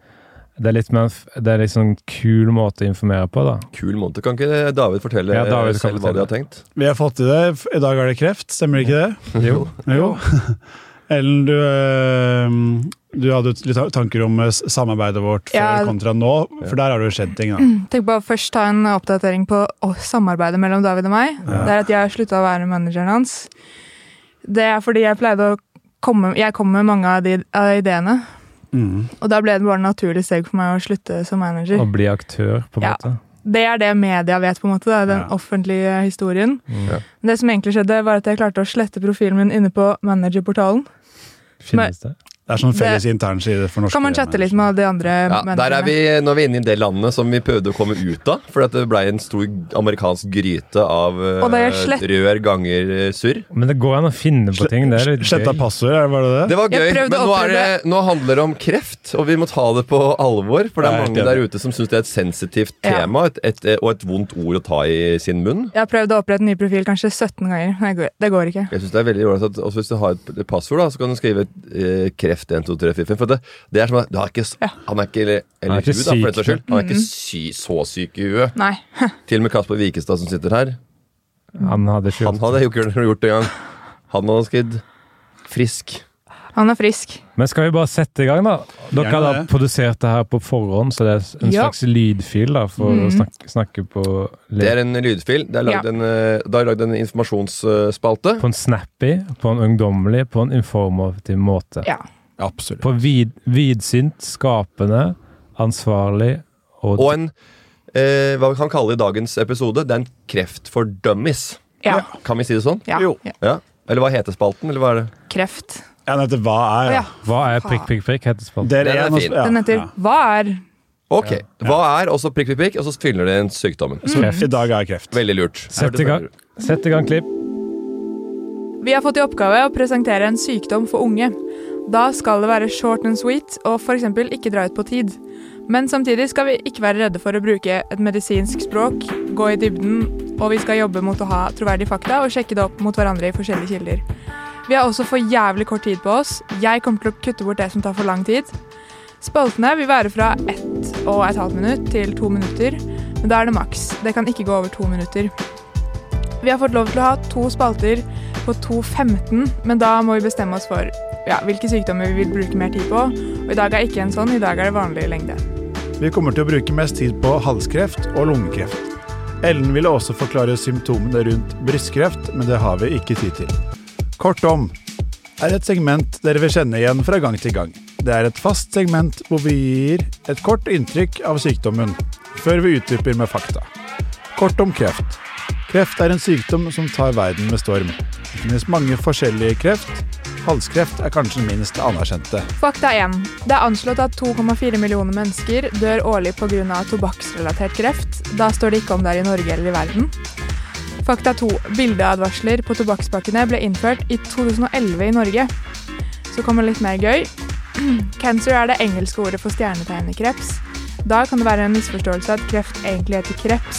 det er litt mer f- Det er liksom en kul måte å informere på, da.
Kul måned. Kan ikke David fortelle
Ja, David
eh,
kan
selv hva de
fortelle.
har tenkt?
Vi har fått til det. I dag er det kreft, stemmer ikke det?
Jo.
Jo. Ellen, du, øhm, du hadde litt tanker om eh, s- samarbeidet vårt før
Ja. Mm.
kontra nå, for der har det jo skjedd ting. da.
Tenk på å først ta en oppdatering på å, samarbeidet mellom David og meg. Det er at jeg har slutta å være manageren hans. Det er fordi jeg pleide å komme Jeg kom med mange av de av ideene.
Mm.
Og da ble det bare et naturlig steg for meg å slutte som
Mm.
manager.
Å bli aktør, på en
Ja.
måte.
Det er det media vet, på en måte. Da, den
Ja. Mm.
offentlige historien.
Ja.
Men det som egentlig skjedde, var at jeg klarte å slette profilen min inne på managerportalen.
Finnes det?
Det er sånn felles internside for norske
Kan man chatte litt med de andre
Ja, der er
managerne.
vi, Nå er vi inne i det landet som vi prøvde å komme ut av. For at det blei en stor amerikansk gryte av eh,
Og det er slett-
rør ganger eh, surr.
Men det går an å finne på ting. Det er litt
Sletta
gøy.
passord, er- var det det?
Det var gøy,
Jeg prøvde
men
å
nå, er det, nå handler det om kreft, og vi må ta det på alvor. For det
Jeg
er
er
mange
helt
der
enig.
ute som syns det er et sensitivt
Ja.
tema et, et, og et vondt ord å ta i sin munn.
Jeg har prøvd å opprette en ny profil kanskje 17 ganger. Nei, det går- det går ikke.
Jeg synes det er veldig ordentlig at også Hvis du har et et passord, da, så kan du skrive eh, kreft 1, 2, 3, 4, 5. For det, det er som at du har ikke, s-
Ja. Mm.
Han er ikke, eller,
Han er ikke
hun, da, for dette
syk.
skyld. Han er ikke sy, så syk i huet.
Nei.
Til og med Kasper Wikestad som sitter her,
Han hadde ikke
han
gjort det.
hadde jo ikke gjort det engang. Han hadde skrevet 'frisk'.
Han er frisk.
Men skal vi bare sette i gang, da? Dere
Gjerne
har da
det.
produsert det her på forhånd, så det er en
Ja. Mhm.
slags lydfil da, for å snakke, snakke på,
Det er en lydfil. Det er lagd
Ja.
en, eh, det er lagd en informasjonsspalte.
på en snappy, på en ungdommelig, på en informativ måte.
Ja.
Absolutt.
På vid, vidsynt, skapende, ansvarlig og,
Og en eh, hva vi kan kalle i dagens episode, det er en kreft for dummies.
Ja.
Kan vi si det sånn?
ja.
Jo.
ja.
Ja. Eller hva heter spalten? Eller hva er det?
Kreft.
Ja, den heter Hva
Å,
er,
ja.
ja.
Hva er prikk, prikk, prikk, heter spalten.
Del
Den er
én, og så-
fin.
ja,
Den heter
ja.
Hva er
Ok, Hva er også prikk, prikk, prikk, og så fyller det inn sykdommen.
I dag er kreft.
Veldig lurt.
Sett i gang, sett i gang klipp.
Vi har fått i oppgave å presentere en sykdom for unge. Da skal det være short and sweet og f.eks. ikke dra ut på tid. Men samtidig skal vi ikke være redde for å bruke et medisinsk språk, gå i dybden, og vi skal jobbe mot å ha troverdige fakta og sjekke det opp mot hverandre i forskjellige kilder. Vi har også for jævlig kort tid på oss. Jeg kommer til å kutte bort det som tar for lang tid. Spaltene vil være fra ett og et halvt minutt til to minutter, men da er det maks. Det kan ikke gå over to minutter. Vi har fått lov til å ha to spalter på 2.15, men da må vi bestemme oss for ja, hvilke sykdommer vi vil bruke mer tid på. Og i dag er ikke en sånn, i dag er det vanlig lengde.
Vi kommer til å bruke mest tid på halskreft og lungekreft. Ellen ville også forklare symptomene rundt brystkreft, men det har vi ikke tid til. Kort om er et segment dere vil kjenne igjen fra gang til gang. Det er et fast segment hvor vi gir et kort inntrykk av sykdommen, før vi utdyper med fakta. Kort om kreft. Kreft er en sykdom som tar verden med storm. Det finnes mange forskjellige kreft. Halskreft er kanskje den minst anerkjente.
Fakta 1. Det er anslått at 2,4 millioner mennesker dør årlig pga. tobakksrelatert kreft. Da står det ikke om det er i Norge eller i verden. Fakta 2. Bildeadvarsler på tobakkspakkene ble innført i 2011 i Norge. Så kommer litt mer gøy. Cancer er det engelske ordet for stjernetegnet kreps. Da kan det være en misforståelse at kreft egentlig heter kreps,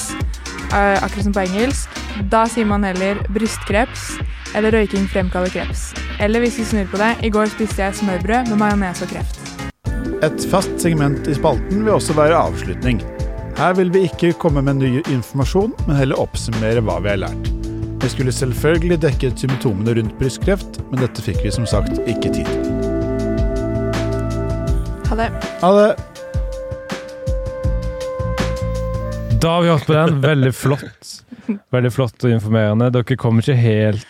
eh, akkurat som på engelsk. Da sier man heller brystkreps eller røyking fremkaller kreps. Eller hvis vi snur på det, i går spiste jeg smørbrød med majones og kreft.
Et fast segment i spalten vil også være avslutning. Her vil vi ikke komme med ny informasjon, men heller oppsummere hva vi har lært. Vi skulle selvfølgelig dekket symptomene rundt brystkreft, men dette fikk vi som sagt ikke tid til.
Ha det.
Ha det!
Da har vi hørt på den. Veldig flott. Veldig flott og informerende. Dere kommer ikke helt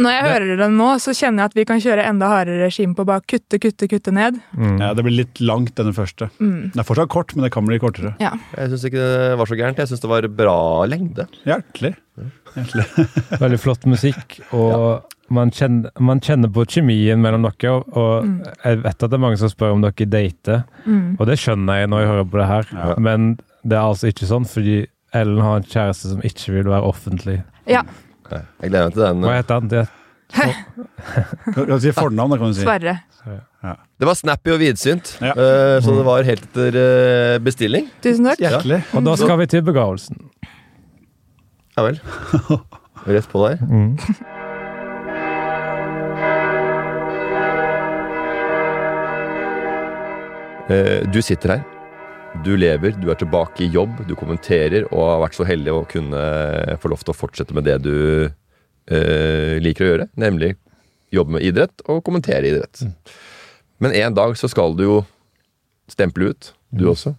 Når jeg hører den nå, så kjenner jeg at vi kan kjøre enda hardere regime på bare kutte, kutte, kutte ned.
mm.
Ja, det blir litt langt, denne første.
Mm.
Den er fortsatt kort, men det kan bli kortere.
Jeg syns ikke det var så gærent. Jeg syns det var bra lengde.
Hjertelig. Hjertelig.
Veldig flott musikk, og man, kjenner, man kjenner på kjemien mellom dere. Og, og
Mm.
jeg vet at det er mange som spør om dere dater,
Mm.
og det skjønner jeg når jeg hører på det her,
Ja.
men det er altså ikke sånn, fordi Ellen har en kjæreste som ikke vil være offentlig.
Jeg gleder meg til den.
Hva heter han? Det,
Kan du si fornavn, da, kan du si.
Sverre.
Det var snappy og vidsynt,
Ja.
eh, så det var helt etter eh, bestilling.
Tusen takk.
Hjertelig.
og da skal vi til begravelsen.
Ja vel. Rett på der.
Mm.
Eh, Du sitter her. Du lever, du er tilbake i jobb, du kommenterer og har vært så heldig å kunne eh, få lov til å fortsette med det du eh, liker å gjøre, nemlig jobbe med idrett og kommentere idrett.
Mm.
Men en dag så skal du jo stemple ut, du
Mm.
også.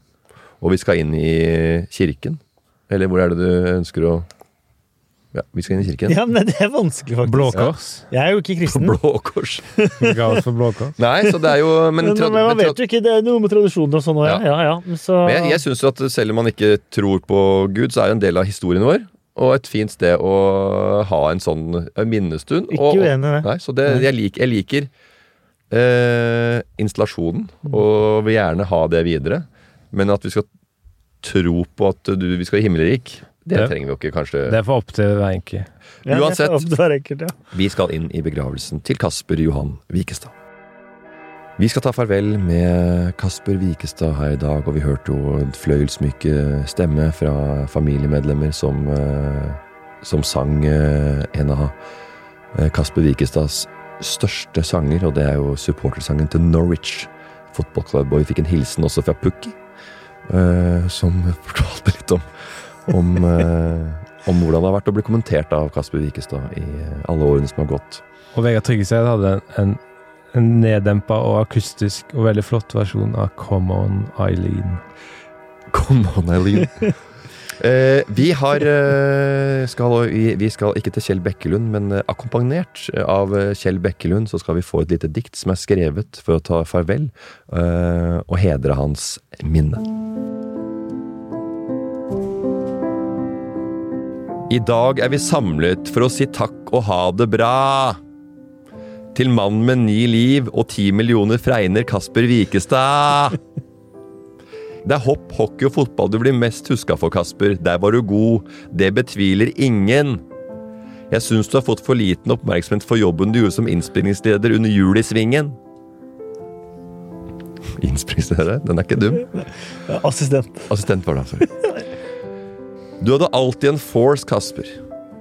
Og vi skal inn i kirken. Eller hvor er det du ønsker å Ja, vi skal inn i kirken.
Ja, men det er vanskelig, faktisk.
Blå Kors.
Jeg er jo ikke kristen.
Blå kors.
Begravelse for Blå Kors.
Nei, så det er jo Men,
Men,
trad-
men man
men
vet jo ikke, det er noe med tradisjoner og sånn òg, ja. ja, ja. Men Så,
Men jeg, jeg syns jo at selv om man ikke tror på Gud, så er jo en del av historien vår. Og et fint sted å ha en sånn minnestund.
Ikke
og,
uenig i det.
Nei, så det, jeg, lik, jeg liker eh, installasjonen,
Mm.
og vil gjerne ha det videre. Men at vi skal tro på at du, vi skal i himmelrik, det
Det-
trenger vi jo ikke, kanskje.
Det er for opp til hver enkelt.
ja,
uansett.
jeg håper det var enkelt, ja.
Vi skal inn i begravelsen til Kasper Johan Vikestad. Vi skal ta farvel med Kasper Vikestad her i dag, og vi hørte jo en fløyelsmyke stemme fra familiemedlemmer som, eh, som sang eh, en av eh, Kasper Vikestads største sanger, og det er jo supportersangen til Norwich fotballklubb. Og vi fikk en hilsen også fra Pukki, eh, som fortalte litt om om, eh, om hvordan det har vært å bli kommentert av Kasper Wikestad i eh, alle årene som har gått.
Og Vegard Tryggeseid hadde en, en, en neddempa og akustisk og veldig flott versjon av Come On Eileen.
Come on, Eileen. Eh, vi, har, eh, skal, vi, vi skal ikke til Kjell Bekkelund, men eh, akkompagnert av eh, Kjell Bekkelund så skal vi få et lite dikt som er skrevet for å ta farvel eh, og hedre hans minne. I dag er vi samlet for å si takk og ha det bra. Til mannen med ni liv og ti millioner fregner Kasper Vikestad. Det er hopp, hockey og fotball du blir mest huska for, Kasper. Der var du god. Det betviler ingen. Jeg syns du har fått for liten oppmerksomhet for jobben du gjorde som innspillingsleder under Jul i Svingen. Innspillingsleder? Den er ikke dum.
Ja, Assistent.
Assistent var det, sorry. Du hadde alltid en force, Kasper.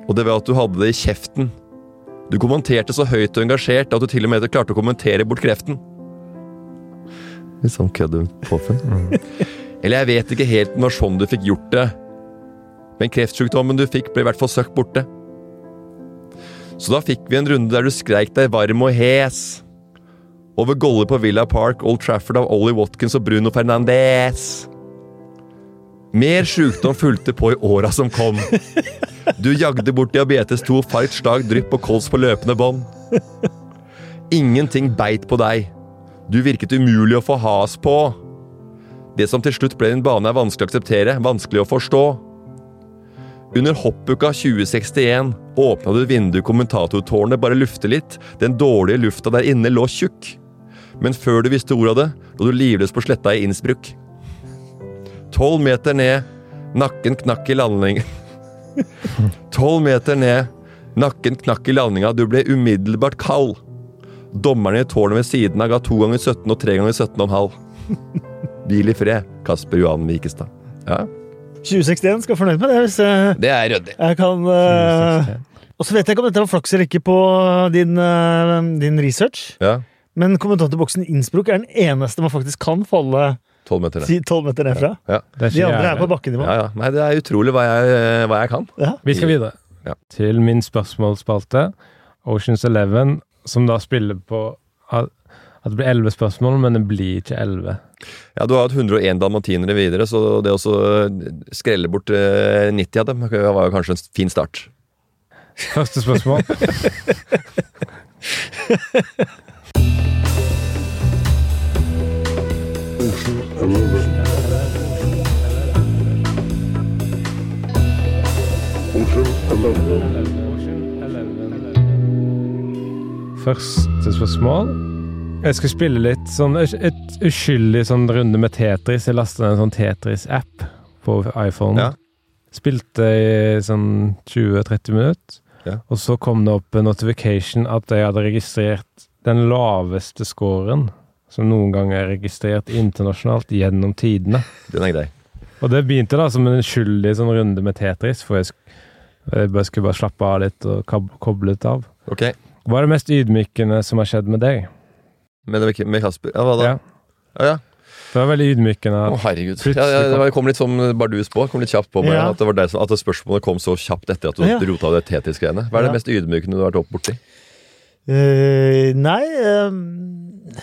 Og det var at du hadde det i kjeften. Du kommenterte så høyt og engasjert at du til og med klarte å kommentere bort kreften. Litt sånn kødd påfunn. Eller jeg vet ikke helt om det var sånn du fikk gjort det. Men kreftsykdommen du fikk, ble i hvert fall søkt borte. Så da fikk vi en runde der du skreik deg varm og hes. Over goller på Villa Park, Old Trafford av Ollie Watkins og Bruno Fernandez. Mer sjukdom fulgte på i åra som kom. Du jagde bort diabetes 2, fight, slag, drypp og kols på løpende bånd. Ingenting beit på deg. Du virket umulig å få has på. Det som til slutt ble din bane, er vanskelig å akseptere, vanskelig å forstå. Under hoppuka 2061 åpna du vinduet kommentatortårnet bare lufte litt. Den dårlige lufta der inne lå tjukk. Men før du visste ordet av det, lå du livløs på sletta i Innsbruck. Tolv meter ned, nakken knakk i landingen. Tolv meter ned, nakken knakk i landinga, du ble umiddelbart kald. Dommerne i tårnet ved siden av ga to ganger 17 og tre ganger 17,5. Hvil i fred, Kasper Johan Vikestad. Ja,
2061 skal være fornøyd med det. hvis eh,
det er ryddig.
jeg kan... eh, og så vet jeg ikke om dette var flaks eller ikke på din, eh, din research,
Ja,
men kommentatorboksen Innsbruck er den eneste man faktisk kan falle
tolv meter ned.
ti- 12 meter ned fra.
Ja.
Det er
De
ikke
andre er på
gjerne.
bakkenivå.
Ja, ja. Nei, det er utrolig hva jeg, hva jeg kan.
Vi skal videre.
Ja.
Til min spørsmålsspalte, Oceans Eleven, som da spiller på at at det blir elleve spørsmål, men det blir ikke elleve.
Ja, Du har hatt 101 dalmatinere videre, så det å så skrelle bort eh, 90 av dem var jo kanskje en fin start.
Første spørsmål. Første spørsmål. Jeg skal spille litt sånn et et uskyldig sånn runde med Tetris. Jeg lastet ned en sånn Tetris-app på iPhone.
Ja.
Spilte i sånn 20-30 minutter.
Ja.
Og så kom det opp en notification at jeg hadde registrert den laveste scoren som noen gang er registrert internasjonalt gjennom tidene.
Den er grei.
Og det begynte da som en uskyldig sånn runde med Tetris, for jeg, sk jeg bare skulle bare slappe av litt og kab- koble litt av.
Ok,
Hva er det mest ydmykende som har skjedd med deg?
Men det var ikke- med Kasper Ja, hva da?
Ja.
Ja, ja.
Det var veldig ydmykende.
Å,
at-
herregud.
Plutselig
Ja, ja, det var- kom litt som bardus på. Kom litt kjapt på meg
Ja.
at, det var deg som, at det spørsmålet kom så kjapt etter at du
Ja.
rota det Tetis-greiene. Hva er
Ja.
det mest ydmykende du har vært opp borti?
Eh, nei eh,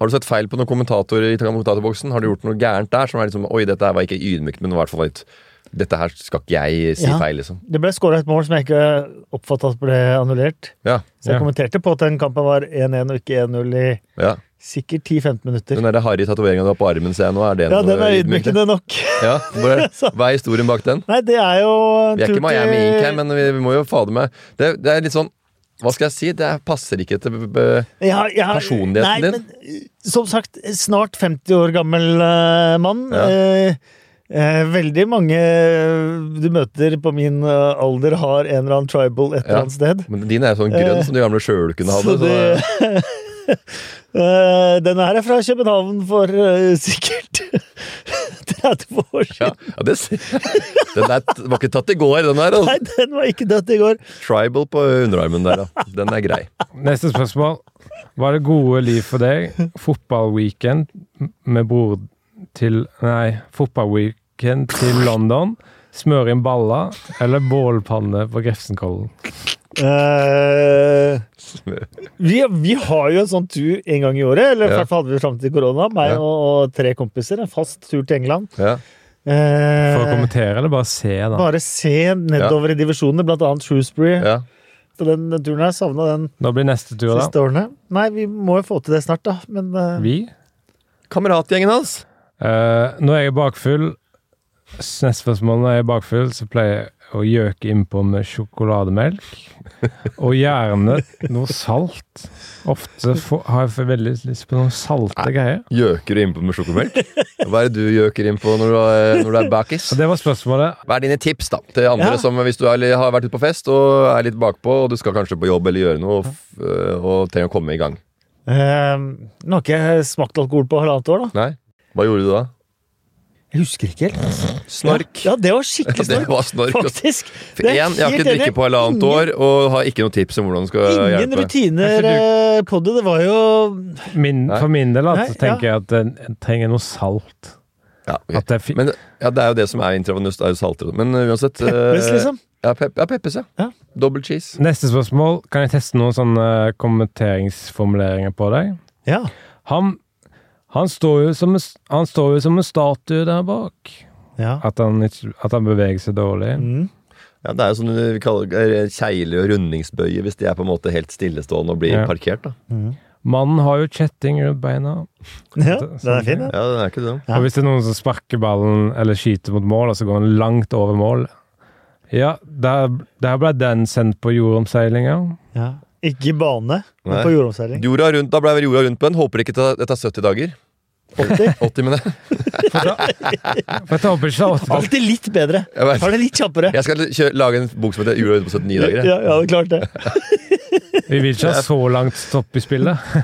Har du sett feil på noen kommentator i kommentatorboksen? Har du gjort noe gærent der som er liksom Oi, dette her var ikke ydmykt, men i hvert fall litt Dette her skal ikke jeg si
Ja.
feil, liksom.
Det ble skåra et mål som jeg ikke oppfatta at ble annullert.
Ja.
Så
Ja.
jeg kommenterte på at den kampen var 1-1 og ikke 1-0 i
ja.
sikkert 10-15 minutter.
Den derre harry tatoveringa du har på armen, ser jeg nå, er det
Ja,
noe
den er
ydmykende?
ydmykende nok.
Ja, hvor er, Hva er historien bak den?
Nei, det er jo en
Vi er
tur
ikke Miami
til-
Ink her, men vi, vi må jo fader meg det, det er litt sånn Hva skal jeg si? Det er- passer ikke til eh, b-
Jeg har- jeg har-
personligheten
nei,
din.
Men, eh, som sagt, snart 50 år gammel eh, mann.
Ja.
Eh, eh, veldig mange eh, du møter på min eh, alder, har en eller annen tribal et
Ja.
eller annet sted.
Men din er jo sånn grønn som de gamle sjølukene hadde.
Eh, Så
Så det,
det, Eh, denne her er fra København for eh, sikkert 30 år siden.
ja, ja, det ser Den der t- var ikke tatt i går, den der.
Nei,
Altså.
den var ikke dødt i går.
Tribal på underarmen der, ja. Den er grei.
Neste spørsmål. Hva er det gode liv for deg? Fotballweekend med bror til Nei, fotballweekend til London. Smøre inn baller eller bålpanne på Grefsenkollen.
Eh, vi, vi har jo en sånn tur en gang i året, eller i
Ja.
hvert fall hadde vi fram til korona. Meg
Ja.
og, og tre kompiser. En fast tur til England.
Ja.
Eh,
For å kommentere eller bare se, da?
bare se nedover i divisjonene, blant annet Shrewsbury.
ja.
Så Den, den turen her savna den
Da blir neste tur, da.
siste årene. Nei, vi må jo få til det snart, da. Men eh,
Vi.
Kameratgjengen hans.
Eh, når jeg er bakfull s- Neste spørsmål. Når jeg er bakfull, så pleier jeg å gjøke innpå med sjokolademelk. Og gjerne noe salt. Ofte få- har jeg veldig lyst på noen salte greier.
Gjøker du innpå med sjokomelk? Hva er det du gjøker innpå når du er, når du er bakis?
Så det var spørsmålet.
Hva er dine tips da, til andre
Ja.
som hvis du er, har vært ute på fest og er litt bakpå, og du skal kanskje på jobb eller gjøre noe, og, f- øh, og trenger å komme i gang?
eh, nå har ikke jeg smakt alkohol på halvannet år, da.
Nei? Hva gjorde du da?
Jeg husker ikke helt.
Snork.
Ja, det var skikkelig
det
snork,
var snork. altså.
faktisk.
For én, jeg har ikke drikke på halvannet år, og har ikke noe tips om hvordan du skal
Ingen
hjelpe.
rutiner eh, på det. Det var jo
Min,
Nei.
for min del
Nei,
at, så tenker jeg at en, en trenger noe salt.
Ja, ok.
At det er fi
Men ja, det er jo det som er intravenøst, er jo saltere. Men øh, uansett øh,
Peppes, liksom.
Ja, pep ja peppes, ja.
Ja.
Double cheese.
Neste spørsmål. Kan jeg teste noen sånne eh, kommenteringsformuleringer på deg?
Ja.
Han, han, står, jo som en, s- han står jo som en statue der bak.
ja.
At han, ikke, at han beveger seg dårlig.
Mm.
Ja, det er jo sånn øh, vi kaller øh, kegle- og rundingsbøye, hvis de er på en måte helt stillestående og blir
Ja.
parkert. da.
Mannen har jo kjetting rundt beina.
ja. Den er fin, den.
Ja, det er ikke det.
Ja.
Og hvis det er noen som sparker ballen eller skyter mot mål, og så går han langt over mål, Ja, der, der ble den sendt på jordomseilinga.
Ja. Ikke i bane, men
Nei.
på jordomseiling.
Jorda rundt, da ble vel jorda rundt på den. Håper ikke det tar 70 dager.
80.
80, mener jeg.
For jeg håper ikke det er åtte-
Alltid litt bedre.
Jeg, vet.
Har det litt kjappere.
jeg skal kjø- lage en bok som heter 'Jorda rundt på 79 dager'. jeg.
Ja, ja, det er klart det.
Vi vil ikke ha så langt stopp i spillet.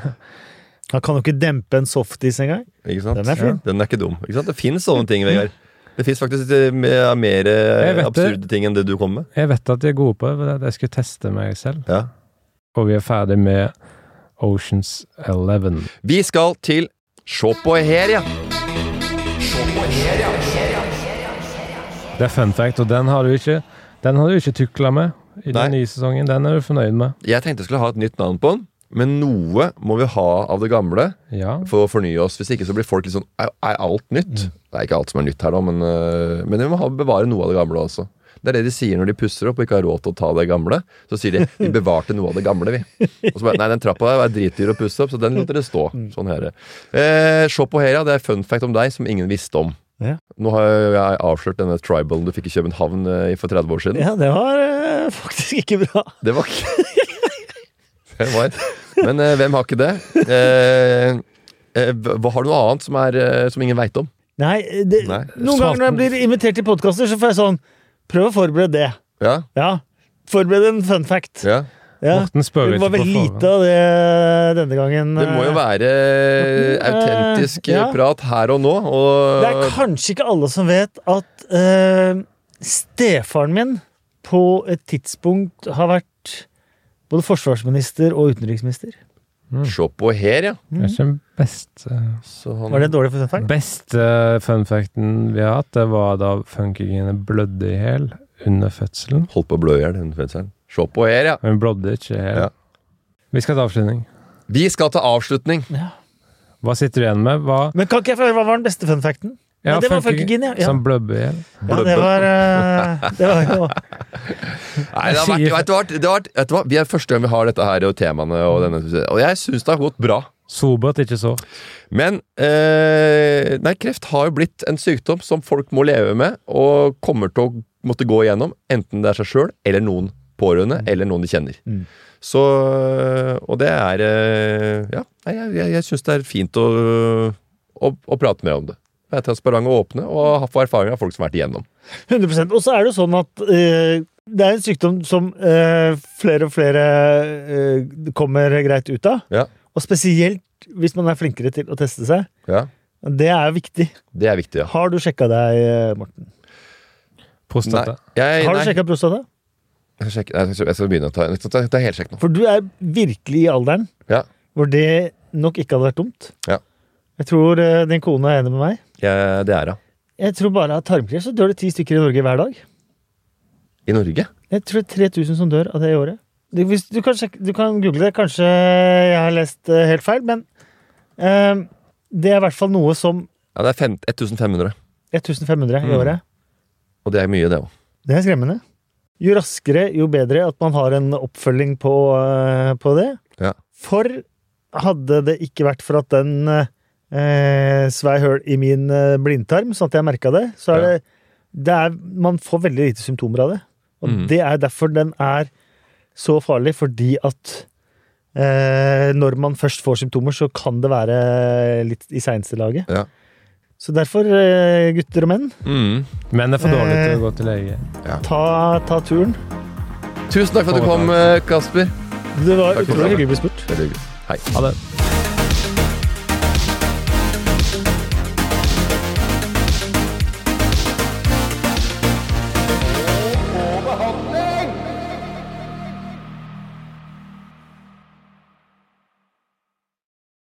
Han kan jo ikke dempe en softis engang.
Ikke sant?
Den er fin.
Den er ikke dum. Ikke sant? Det fins sånne ting, Vegard. Det fins faktisk eh, mer, mer eh,
Jeg vet det.
absurde ting enn det du kom med.
Jeg vet at de er gode på det, for jeg skulle teste meg selv.
Ja.
Og vi er ferdig med Oceans 11.
Vi skal til Sjå på her, ja. Sjå på her, ja.
Det er fun fact, og den har du ikke, den har du ikke tukla med i
Nei.
den nye sesongen. Den er du fornøyd med.
Jeg tenkte jeg skulle ha et nytt navn på den, men noe må vi ha av det gamle
Ja.
for å fornye oss. Hvis ikke så blir folk litt sånn Er, er alt nytt? Det er ikke alt som er nytt her, da, men, øh, men vi må ha, bevare noe av det gamle også. Det er det de sier når de pusser opp og ikke har råd til å ta det gamle. Så sier de 'vi bevarte noe av det gamle', vi. Og så bare, Nei, den trappa der var dritdyr å pusse opp, så den lot dere stå. Sånn her. Eh, se på her, ja. Det er fun fact om deg som ingen visste om.
Ja.
Nå har jeg avslørt denne tribalen du fikk i København eh, for 30 år siden.
Ja, det var eh, faktisk ikke bra.
Det var ikke Det var Men eh, hvem har ikke det? Eh, eh, hva har du noe annet som, er, eh, som ingen veit om?
Nei, det,
Nei.
noen ganger når jeg blir invitert til podkaster, så får jeg sånn Prøv å forberede det.
Ja,
Ja. Forbered en fun fact.
ja.
Ja.
Morten spør
Det
ikke
var
på
veldig
forhånd.
lite av det denne gangen.
Det må jo være autentisk eh,
ja.
prat her og nå. Og
Det er kanskje ikke alle som vet at eh, stefaren min på et tidspunkt har vært både forsvarsminister og utenriksminister.
Se på Mm. her, ja.
Det er ikke den beste,
Så han,
Var det dårlig fun fact?
beste fun facten vi har hatt. Det var da funkygene blødde i hjel under fødselen.
Holdt på å blø i hjel, den fenseren. Se på her, ja.
Men blødde ikke i hjel.
Ja.
Vi skal til avslutning.
Vi skal til avslutning.
Hå sitter du igjen med? Hva
Men kan ikke jeg få høre hva var den beste fun facten? Ja, det var
funkygene
funkygene, ja.
Som blødde i hjel.
Ja, det
Blubbe.
var, eh, det var jo
Nei, det har vært, vet du hva, det har vært, vet du hva, vi er første gang vi har dette her og temaene, og, denne, og jeg syns det har gått bra.
Sobert, ikke så.
Men eh, nei, kreft har jo blitt en sykdom som folk må leve med, og kommer til å måtte gå igjennom, enten det er seg sjøl eller noen pårørende, eller noen de kjenner.
Mm.
Så Og det er eh, Ja, nei, jeg, jeg, jeg syns det er fint å, å, å prate mer om det. Være transparent og åpne, og ha- få erfaringer av folk som har vært igjennom.
100 Og så er det jo sånn at eh, det er en sykdom som eh, flere og flere eh, kommer greit ut av.
Ja.
Og spesielt hvis man er flinkere til å teste seg.
Ja,
Det er jo viktig.
Det er viktig, ja.
Har du sjekka deg, eh, Morten?
Prostata.
jeg,
Har du
nei,
sjekka prostata?
jeg, sjekk, nei, jeg skal- jeg skal begynne å ta, jeg skal ta, ta helsjekk nå.
For du er virkelig i alderen
Ja.
hvor det nok ikke hadde vært dumt.
Ja.
Jeg tror eh, din kone er enig med meg.
Jeg, det er hun.
Jeg tror bare av tarmkreft så dør det ti stykker i Norge hver dag.
I Norge?
Jeg tror det er 3000 som dør av det i året. Du, hvis, du, kan sjekke, du kan google det. Kanskje jeg har lest eh, helt feil, men eh, det er i hvert fall noe som
Ja, det er fem, 1500,
1500 i
Mm.
året.
og det er mye, det òg.
Det er skremmende. Jo raskere, jo bedre at man har en oppfølging på, eh, på det.
Ja.
For hadde det ikke vært for at den eh, svei høl i min eh, blindtarm, sånn at jeg merka det, så er
Ja.
det, det er, Man får veldig lite symptomer av det. Og
Mm.
det er derfor den er så farlig, fordi at eh, når man først får symptomer, så kan det være litt i seineste laget.
Ja.
Så derfor, eh, gutter og menn,
Mm.
Men det er for dårlig
Eh,
til å gå til lege.
ta, ta turen.
Tusen takk for at du kom, eh, Kasper.
Det var
Takk for
utrolig
det.
hyggelig å bli spurt.
Veldig hyggelig. Hei.
Ha det.